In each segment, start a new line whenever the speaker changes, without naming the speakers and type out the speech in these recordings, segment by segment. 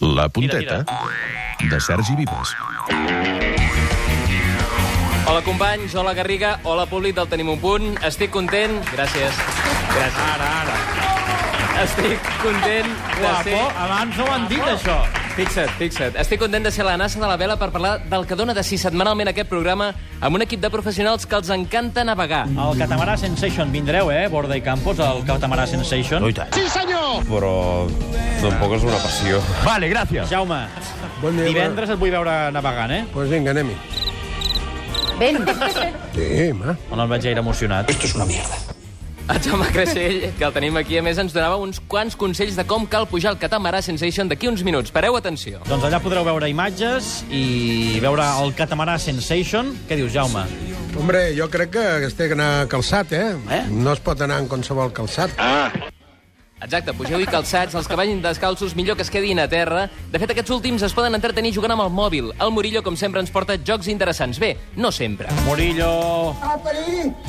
La punteta de Sergi Vives.
Hola, companys, hola, Garriga, hola, públic del Tenim un punt. Estic content... Gràcies. Gràcies. Ara, ara. Estic content de
Guapo,
ser...
abans no ho han dit, això.
Fixa't, fixa't. Estic content de ser la NASA de la vela per parlar del que dona de si setmanalment aquest programa amb un equip de professionals que els encanta navegar.
El Catamarà Sensation, vindreu, eh, Borda i Campos, el Catamarà Sensation. Ui,
però tampoc és una passió.
Vale, gracias.
Jaume,
Bon dia,
divendres et vull veure navegant, eh?
Pues vinga, anem-hi.
Ven.
Sí, home.
No el veig gaire emocionat.
El Jaume Creixell, que el tenim aquí, a més, ens donava uns quants consells de com cal pujar el catamarà Sensation d'aquí uns minuts. Pareu atenció.
Doncs allà podreu veure imatges i veure el Catamarà Sensation. Què dius, Jaume?
Hombre, jo crec que es té que anar calçat, eh? eh? No es pot anar en qualsevol calçat. Ah.
Exacte, pugeu-hi calçats, els que vagin descalços millor que es quedin a terra. De fet, aquests últims es poden entretenir jugant amb el mòbil. El Murillo, com sempre, ens porta jocs interessants. Bé, no sempre.
Murillo,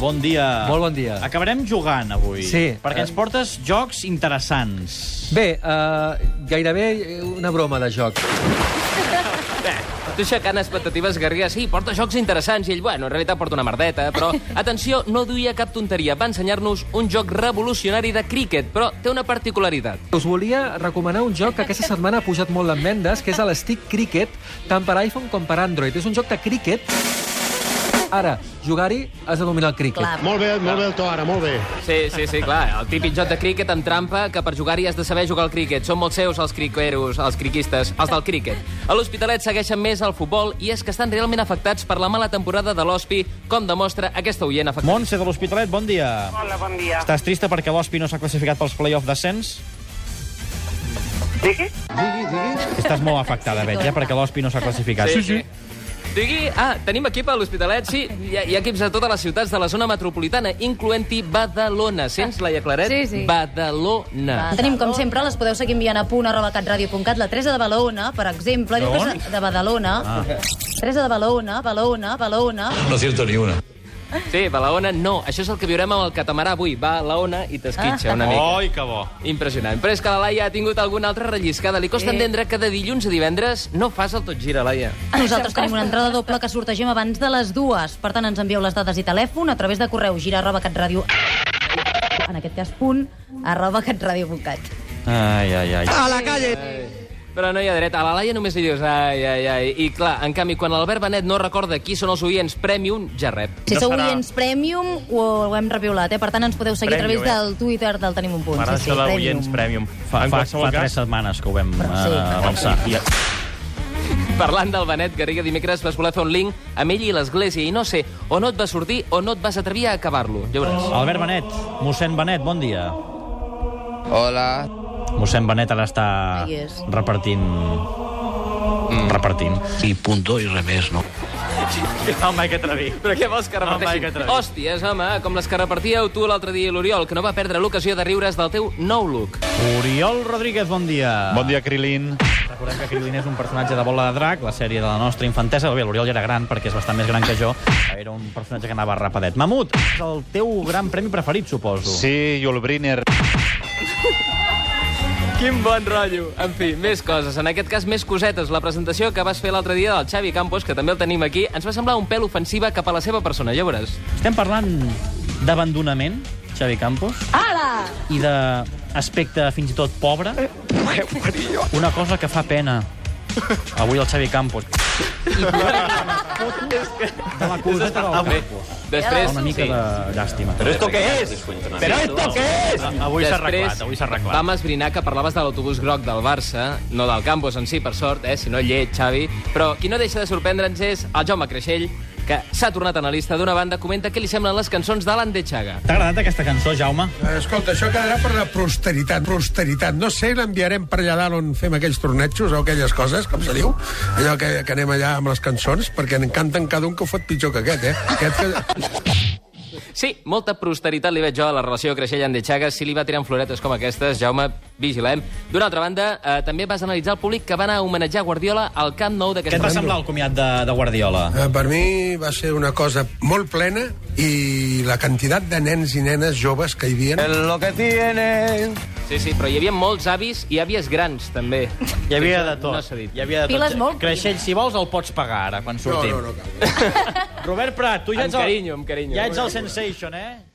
bon dia.
Molt bon dia.
Acabarem jugant avui.
Sí. Eh.
Perquè ens portes jocs interessants.
Bé, uh, gairebé una broma de joc.
Tu aixecant expectatives, Garriga, sí, porta jocs interessants, i ell, bueno, en realitat porta una merdeta, però, atenció, no duia cap tonteria. Va ensenyar-nos un joc revolucionari de críquet, però té una particularitat.
Us volia recomanar un joc que aquesta setmana ha pujat molt en vendes, que és el Stick Cricket, tant per iPhone com per Android. És un joc de críquet. Ara, jugar-hi, has de dominar el críquet.
Clar.
Molt bé, molt bé el to ara, molt bé.
Sí, sí, sí, clar, el típic joc de críquet amb trampa que per jugar-hi has de saber jugar al críquet. Són molts seus els criqueros, els criquistes, els del críquet. A l'Hospitalet segueixen més el futbol i és que estan realment afectats per la mala temporada de l'Hospi, com demostra aquesta oient afectada.
Montse de l'Hospitalet, bon dia.
Hola, bon dia.
Estàs trista perquè l'Hospi no s'ha classificat pels play-off d'ascens?
Digui?
Estàs molt afectada, veig, eh, perquè l'Hospi no s'ha classificat.
Digui, ah, tenim equip a l'Hospitalet, sí. Hi ha, hi ha equips a totes les ciutats de la zona metropolitana, incloent-hi Badalona. Sents, Laia Claret?
Sí, sí.
Badalona.
Tenim, com sempre, les podeu seguir enviant a punt arroba catradio.cat. La Teresa de Balona, per exemple, diu que és de Badalona. Ah. Teresa de Balona, Balona, Balona.
Sí, Balaona no. Això és el que viurem amb el catamarà avui. Va a Laona i
Ah.
t'esquitxa una mica. Oi, que bo. Impressionant. Però és que la Laia ha tingut alguna altra relliscada. Li costa
Sí.
entendre que de dilluns a divendres no fas el tot gira, Laia.
Nosaltres tenim una entrada doble que sortegem abans de les dues. Per tant, ens envieu les dades i telèfon a través de correu gira arroba catradio en aquest cas punt, arroba catradio.cat.
Ai, ai, ai.
Però no hi ha dret. A la Laia només li dius ai, ai, ai. I clar, en canvi, quan l'Albert Benet no recorda qui són els oients premium, ja rep.
Si
No
sou
serà-
oients Premium, ho, ho hem reviolat, eh? Per tant, ens podeu seguir
Premium, eh?
a través del Twitter del Tenim un punt.
M'agrada això de Oients Premium.
Fa,
En
fa,
qualsevol
fa
cas-
tres setmanes que ho vam
Però sí.
eh, avançar. I,
Parlant del Benet, Garriga, dimecres vas voler fer un link amb ell i l'església i no sé, o no et va sortir o no et vas atrevir a acabar-lo. Ja
Oh.
veuràs.
Albert Benet, mossèn Benet, bon dia.
Hola.
Mossèn Benet ara està
Hi és.
repartint... Repartint.
Home, que atrevi.
Però què vols que
Home, que
reparteixin?
travi.
Hòsties, home, com les que repartíeu tu l'altre dia, l'Oriol, que no va perdre l'ocasió de riure's del teu nou look.
Oriol Rodríguez, bon dia.
Bon dia, Krilin.
Recordem que Krilin és un personatge de Bola de Drac, la sèrie de la nostra infantesa. Bé, l'Oriol ja era gran, perquè és bastant més gran que jo. Era un personatge que anava rapadet. Mamut, és el teu gran premi preferit, suposo.
Sí, Julbriner.
Quin bon rotllo. En fi, més coses. En aquest cas, més cosetes. La presentació que vas fer l'altre dia del Xavi Campos, que també el tenim aquí, ens va semblar un pèl ofensiva cap a la seva persona, ja veuràs.
Estem parlant d'abandonament, Xavi Campos. Ala! I d'aspecte fins i tot pobre. Una cosa que fa pena. Avui el Xavi Campos. I la coseta del
Bé,
Campos.
després...
Una mica de llàstima.
Avui s'ha arreglat,
Després
avui s'ha arreglat.
Vam esbrinar que parlaves de l'autobús groc del Barça, no del Campos en si, per sort, eh, si no llet, Xavi. Però qui no deixa de sorprendre'ns és el Jaume Creixell, que s'ha tornat analista. D'una banda, comenta què li semblen les cançons d'Alan de Chaga.
T'ha agradat aquesta cançó, Jaume?
Eh, Escolta, això quedarà per la posteritat, posteritat. No sé, l'enviarem per allà dalt on fem aquells tornejos o aquelles coses, com se diu, allò que, que anem allà amb les cançons, perquè en canten cada un que ho fot pitjor que aquest, eh? Aquest que...
Sí, molta prosperitat li veig jo a la relació Creixell de Chagas. Si li va tirant floretes com aquestes, Jaume, vigilem. D'una altra banda, eh, també vas analitzar el públic que va anar a homenatjar Guardiola al Camp Nou
Què
d'aquesta
et va semblar el comiat de, de Guardiola?
Eh, Per mi va ser una cosa molt plena i la quantitat de nens i nenes joves que hi havia...
Lo que tiene...
Sí, sí, però hi havia molts avis i àvies grans, també.
Hi havia de tot.
No s'ha dit.
Hi havia de tot.
Piles molt.
Creixell, si vols, el pots pagar ara, quan
No,
sortim.
no, no cal.
Robert Prat, tu ja
Amb
ets el...
carinyo, amb carinyo.
Ja ets el Sensation, eh?